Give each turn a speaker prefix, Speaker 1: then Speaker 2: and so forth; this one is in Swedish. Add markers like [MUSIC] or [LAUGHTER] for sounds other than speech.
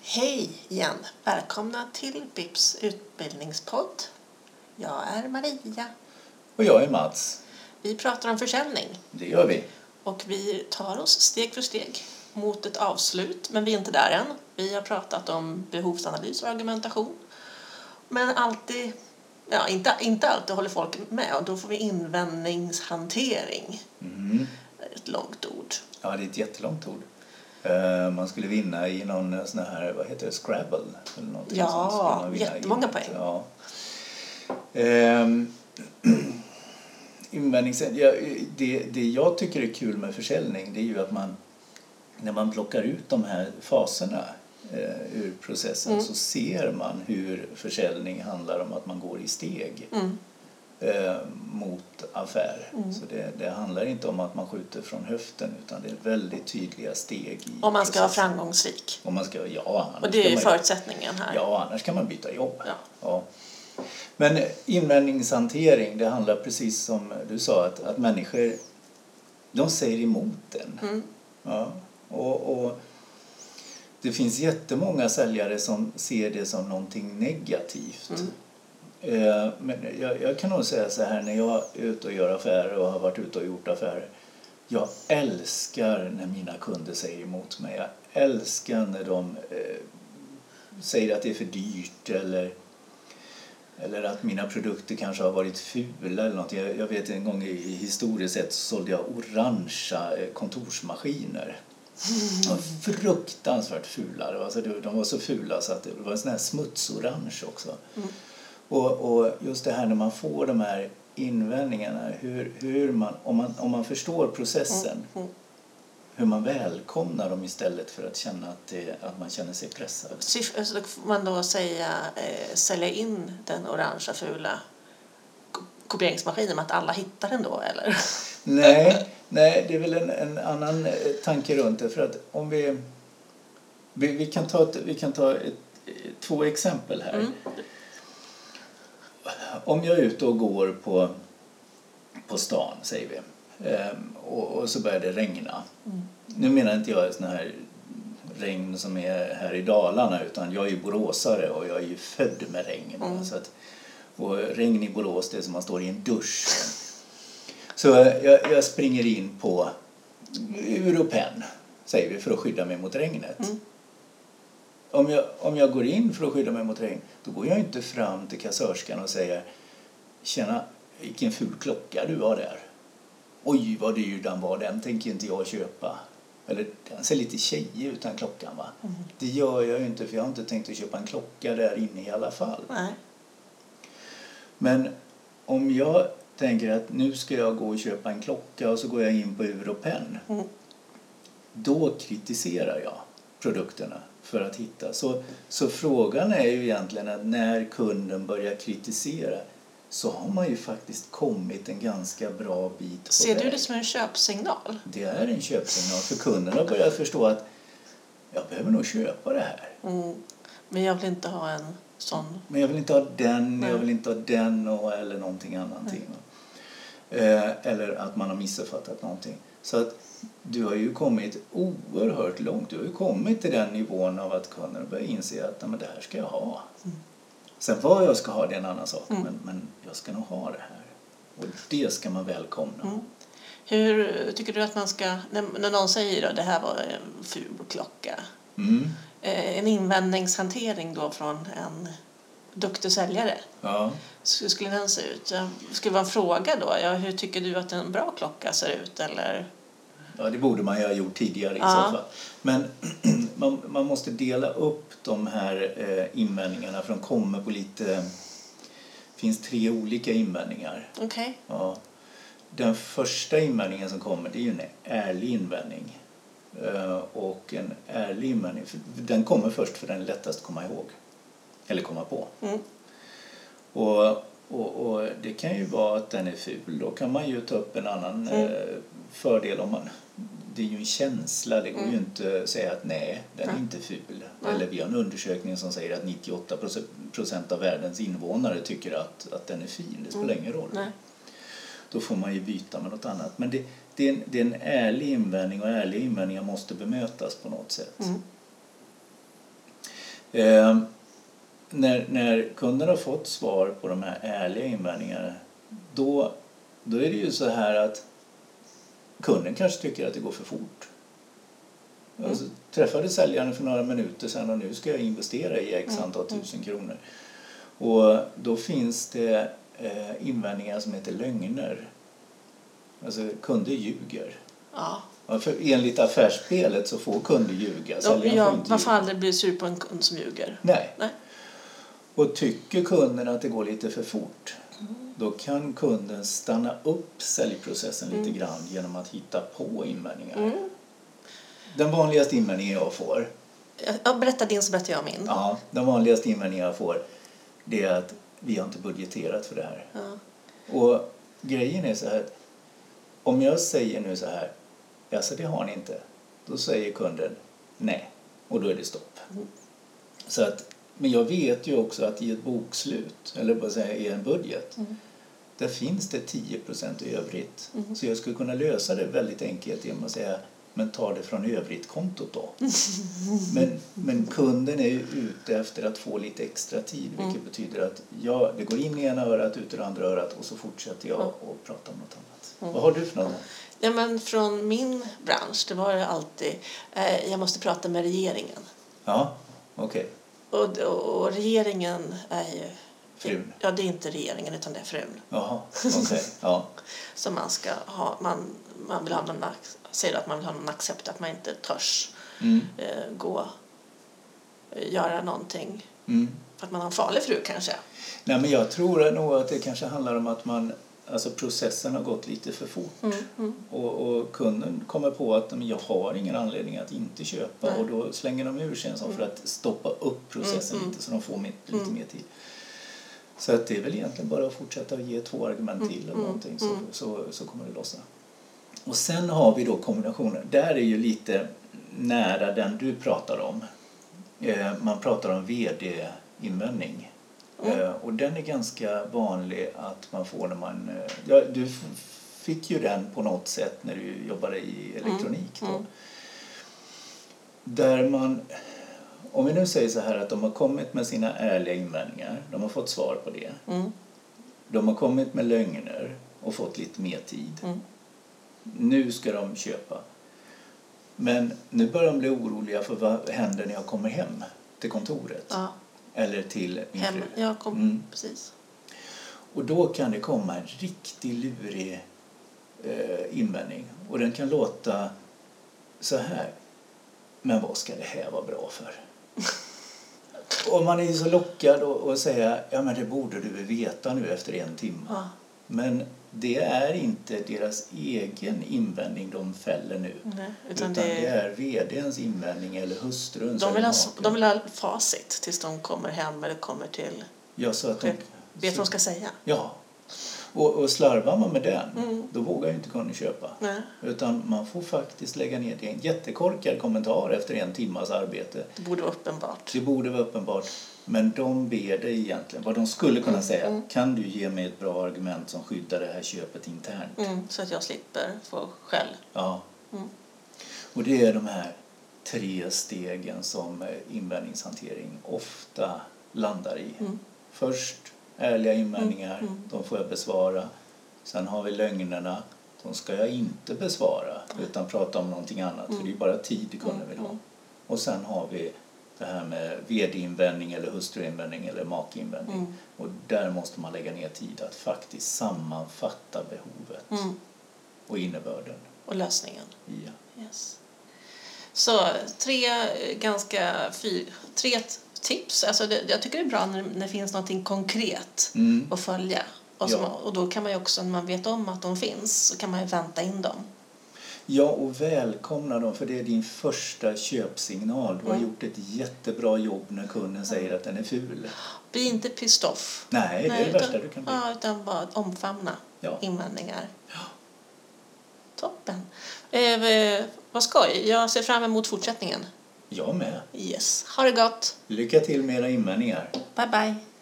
Speaker 1: Hej igen! Välkomna till BIPs utbildningspodd. Jag är Maria.
Speaker 2: Och jag är Mats.
Speaker 1: Vi pratar om försäljning
Speaker 2: Det gör vi.
Speaker 1: och vi tar oss steg för steg mot ett avslut, men vi är inte där än. Vi har pratat om behovsanalys och argumentation. Men alltid, ja, inte, inte alltid håller folk med och då får vi invändningshantering.
Speaker 2: Mm.
Speaker 1: Ett långt ord.
Speaker 2: Ja, det är ett jättelångt ord. Eh, Man skulle vinna i någon eh, sån här, vad heter det, Scrabble? Eller någonting
Speaker 1: Ja,
Speaker 2: sånt skulle man vinna i.
Speaker 1: jättemånga poäng.
Speaker 2: Ja. Ehm, [CLEARS THROAT] Invändnings... Ja, eh, det, det jag tycker är kul med försäljning det är ju att man, när man plockar ut de här faserna eh, ur processen
Speaker 1: Mm.
Speaker 2: så ser man hur försäljning handlar om att man går i steg.
Speaker 1: Mm.
Speaker 2: eh, mot affär. Så det, det handlar inte om att man skjuter från höften utan det är väldigt tydliga steg. I
Speaker 1: Om man ska vara
Speaker 2: processen.
Speaker 1: framgångsrik.
Speaker 2: Om man ska, ja, annars
Speaker 1: Och det är ju
Speaker 2: kan man,
Speaker 1: förutsättningen här.
Speaker 2: ja, annars kan man byta jobb.
Speaker 1: Ja.
Speaker 2: Ja. Men invändningshantering, det handlar precis som du sa att, att människor de säger emot en.
Speaker 1: Mm.
Speaker 2: Ja. Och, och det finns jättemånga säljare som ser det som någonting negativt. Eh, Men jag, jag kan nog säga så här när jag är ute och gör affärer och har varit ute och gjort affärer. Jag älskar när mina kunder säger emot mig. Jag älskar när de eh, säger att det är för dyrt eller, eller att mina produkter kanske har varit fula eller något. Jag, jag vet en gång i, i historiskt sett så sålde jag orangea eh, kontorsmaskiner. De var fruktansvärt fula. Det var, alltså, de var så fula så att det var en sån här smutsorange också.
Speaker 1: Mm.
Speaker 2: Och, och just det här när man får de här invändningarna, hur, hur man, om, man, om man förstår
Speaker 1: Mm.
Speaker 2: processen hur man välkomnar dem istället för att känna att, det, att man känner sig pressad.
Speaker 1: Syf- alltså, då får man då säga, eh, sälja in den orangea fula ko- kopieringsmaskinen med att alla hittar den då eller?
Speaker 2: Nej, nej, det är väl en, en annan eh, tanke runt det. För att om vi, vi, vi kan ta, ett, vi kan ta ett, eh, två exempel här.
Speaker 1: Mm.
Speaker 2: Om jag är ute och går på, på stan, säger vi, ehm, och, och så börjar det regna. Nu menar inte jag sån här regn som är här i Dalarna utan jag är ju boråsare och jag är ju född med regn. va, Så att, och regn i Borås det är som man står i en dusch. Så jag, jag springer in på ur och penn, säger vi, för att skydda mig mot regnet.
Speaker 1: Mm.
Speaker 2: Om, jag, om jag går in för att skydda mig mot regn, då går jag inte fram till kassörskan och säger Tjena, vilken ful klocka du har där. Oj, vad dyr den var, den tänker inte jag köpa. Eller, den ser lite tjejig ut den klockan va. Det gör jag ju inte för jag har inte tänkt att köpa en klocka där inne i alla fall.
Speaker 1: Nej.
Speaker 2: Men om jag tänker att nu ska jag gå och köpa en klocka och så går jag in på Ur och Penn.
Speaker 1: Mm.
Speaker 2: Då kritiserar jag produkterna för att hitta. Så, så frågan är ju egentligen att när kunden börjar kritisera så har man ju faktiskt kommit en ganska bra bit på
Speaker 1: Ser du
Speaker 2: väg.
Speaker 1: det som en köpsignal?
Speaker 2: Det är en köpsignal för kunden har börjat förstå att jag behöver nog köpa det här.
Speaker 1: Mm. Men jag vill inte ha en sån.
Speaker 2: Men jag vill inte ha den,
Speaker 1: Nej.
Speaker 2: jag vill inte ha den och, eller någonting annat. Eh, eller att man har missuppfattat någonting. Så att du har ju kommit oerhört långt. Du har ju kommit till den nivån av att kunderna börjar inse att "Nej, men det här ska jag ha. Sen vad jag ska ha det är en annan sak, men, men jag ska nog ha det här. Och det ska man välkomna.
Speaker 1: Mm. Hur tycker du att man ska, när, när någon säger då det här var en ful klocka,
Speaker 2: Mm.
Speaker 1: eh, en invändningshantering då från en duktig säljare,
Speaker 2: Ja.
Speaker 1: så skulle den se ut? Ja, Skulle det vara en fråga då? Ja, hur tycker du att en bra klocka ser ut eller?
Speaker 2: Ja, det borde man ju ha gjort tidigare i
Speaker 1: Ja.
Speaker 2: så fall. Men [CLEARS THROAT] man, man måste dela upp de här eh, invändningarna för de kommer på lite... Det finns tre olika invändningar.
Speaker 1: Okej.
Speaker 2: Ja. Den första invändningen som kommer det är ju en ärlig invändning. Eh, och en ärlig invändning, för- den kommer först för den är lättast att komma ihåg. Eller komma på.
Speaker 1: Mm.
Speaker 2: Och, och, och det kan ju vara att den är ful. Då kan man ju ta upp en annan
Speaker 1: Mm.
Speaker 2: eh, fördel om man... Det är ju en känsla. Det går ju inte att säga att nej, den är
Speaker 1: Mm. Nej.
Speaker 2: inte ful.
Speaker 1: Nej.
Speaker 2: Eller vi har en undersökning som säger att 98 procent av världens invånare tycker att, att den är fin. Det spelar ingen roll.
Speaker 1: Mm. Nej.
Speaker 2: Då får man ju byta med något annat. Men det, det, är en, det är en ärlig invändning och ärliga invändningar måste bemötas på något sätt.
Speaker 1: Mm.
Speaker 2: Eh, när, när kunden har fått svar på de här ärliga invändningarna då, då är det ju så här att kunden kanske tycker att det går för fort.
Speaker 1: Mm.
Speaker 2: Jag Alltså, träffade säljaren för några minuter sedan och nu ska jag investera i
Speaker 1: Mm.
Speaker 2: x antal tusen kronor. Och då finns det eh, invändningar som heter lögner. Alltså kunder ljuger.
Speaker 1: Ja.
Speaker 2: Ja, för enligt affärsspelet så får kunder ljuga.
Speaker 1: Ja,
Speaker 2: Säljaren får
Speaker 1: jag,
Speaker 2: inte
Speaker 1: man får
Speaker 2: ljuga.
Speaker 1: aldrig bli sur på en kund som ljuger.
Speaker 2: Nej.
Speaker 1: Nej.
Speaker 2: Och tycker kunden att det går lite för fort då kan kunden stanna upp säljprocessen lite grann genom att hitta på invändningar.
Speaker 1: Mm.
Speaker 2: Den vanligaste invändningen jag får,
Speaker 1: Jag berättar din så berättar jag min.
Speaker 2: ja, den vanligaste invändningen jag får det är att vi har inte budgeterat för det här.
Speaker 1: Ja.
Speaker 2: Och grejen är så här att om jag säger nu så här, alltså det har ni inte, då säger kunden nej och då är det stopp. Så att, men jag vet ju också att i ett bokslut, eller vad säger jag, i en budget, där finns det 10 i övrigt. Så jag skulle kunna lösa det väldigt enkelt genom att säga men ta det från övrigt kontot då. Men, men kunden är ju ute efter att få lite extra tid vilket betyder att jag, det går in i ena örat, ut i det andra örat och så fortsätter jag och prata om något annat. Vad har du för något?
Speaker 1: Ja, men från min bransch det var det alltid eh, jag måste prata med regeringen.
Speaker 2: Ja, okej.
Speaker 1: Och, och, och regeringen är ju...
Speaker 2: Frun.
Speaker 1: Ja, det är inte regeringen utan det är frun.
Speaker 2: Jaha, okej. Ja.
Speaker 1: som man ska ha. Man, man vill ha någon, ac- säger att man vill ha någon accept att man inte törs
Speaker 2: Mm,
Speaker 1: eh, gå eh, göra någonting
Speaker 2: mm.
Speaker 1: för att man har en farlig fru kanske.
Speaker 2: Nej, men jag tror nog att det kanske handlar om att man, alltså processen har gått lite för fort. Och, och kunden kommer på att men jag har ingen anledning att inte köpa
Speaker 1: Nej.
Speaker 2: och då slänger de ur sig en sån för att stoppa upp processen lite så de får mitt, lite mer tid. Så att det är väl egentligen bara att fortsätta och ge två argument till eller någonting så, så, så kommer det lossa. Och sen har vi då kombinationen. Där är ju lite nära den du pratar om. Eh, man pratar om VD-invändning. Eh, och den är ganska vanlig att man får när man... Eh, ja, du f- fick ju den på något sätt när du jobbade i elektronik. Då. Där man... Om vi nu säger så här att de har kommit med sina ärliga invändningar, de har fått svar på det.
Speaker 1: Mm.
Speaker 2: De har kommit med lögner och fått lite mer tid.
Speaker 1: Mm.
Speaker 2: Nu ska de köpa. Men nu börjar de bli oroliga för vad händer när jag kommer hem till kontoret
Speaker 1: Ja,
Speaker 2: eller till min
Speaker 1: hem.
Speaker 2: fru.
Speaker 1: Jag kom,
Speaker 2: Mm.
Speaker 1: precis.
Speaker 2: Och då kan det komma en riktigt lurig eh, invändning. Och den kan låta så här. Men vad ska det här vara bra
Speaker 1: [LAUGHS]
Speaker 2: för? och man är ju så lockad att att säga ja men det borde du väl veta nu efter en timme.
Speaker 1: Ja.
Speaker 2: Men det är inte deras egen invändning de fäller nu.
Speaker 1: Nej,
Speaker 2: Utan,
Speaker 1: utan det,
Speaker 2: det är vdns invändning eller hustruns.
Speaker 1: de,
Speaker 2: eller
Speaker 1: vill ha,
Speaker 2: makens.
Speaker 1: de vill ha facit tills de kommer hem eller kommer till...
Speaker 2: ja, så att de,
Speaker 1: Vet vad de ska säga.
Speaker 2: Ja. Och, och slarvar man med den, då vågar ju inte kunden köpa.
Speaker 1: Nej,
Speaker 2: Utan man får faktiskt lägga ner det. En jättekorkad kommentar efter en timmas arbete.
Speaker 1: det borde vara uppenbart.
Speaker 2: Det borde vara uppenbart. Men de ber dig egentligen, vad de skulle kunna säga, kan du ge mig ett bra argument som skyddar det här köpet internt?
Speaker 1: Mm, så att jag slipper få skäll. Mm,
Speaker 2: Ja. Och det är de här tre stegen som eh, invändningshantering ofta landar i.
Speaker 1: mm,
Speaker 2: Först ärliga invändningar, de får jag besvara. Sen har vi lögnerna, de ska jag inte besvara utan prata om någonting annat för det är ju bara tid kunden vill ha. Och sen har vi det här med vd-invändning eller hustruinvändning eller makeinvändning.
Speaker 1: Mm.
Speaker 2: Och där måste man lägga ner tid att faktiskt sammanfatta behovet
Speaker 1: Mm,
Speaker 2: och innebörden.
Speaker 1: och lösningen.
Speaker 2: Ja.
Speaker 1: Yes. Så tre eh, ganska fy, tre t- tips. Alltså det, jag tycker det är bra när när det finns någonting konkret
Speaker 2: Mm.
Speaker 1: att följa. Och, som,
Speaker 2: Ja.
Speaker 1: och då kan man ju också, när man vet om att de finns, så kan man ju vänta in dem.
Speaker 2: ja, och välkomna dem för det är din första köpsignal. Du har gjort ett jättebra jobb när kunden säger att den är ful.
Speaker 1: Bli inte pissed off.
Speaker 2: Nej, det är det
Speaker 1: utan,
Speaker 2: värsta du kan bli.
Speaker 1: Ja, utan bara omfamna
Speaker 2: Ja.
Speaker 1: invändningar. Toppen. Eh, eh, vad skoj. Jag ser fram emot fortsättningen.
Speaker 2: Jag med.
Speaker 1: Yes. Ha det gott.
Speaker 2: Lycka till med era invändningar.
Speaker 1: Bye, bye.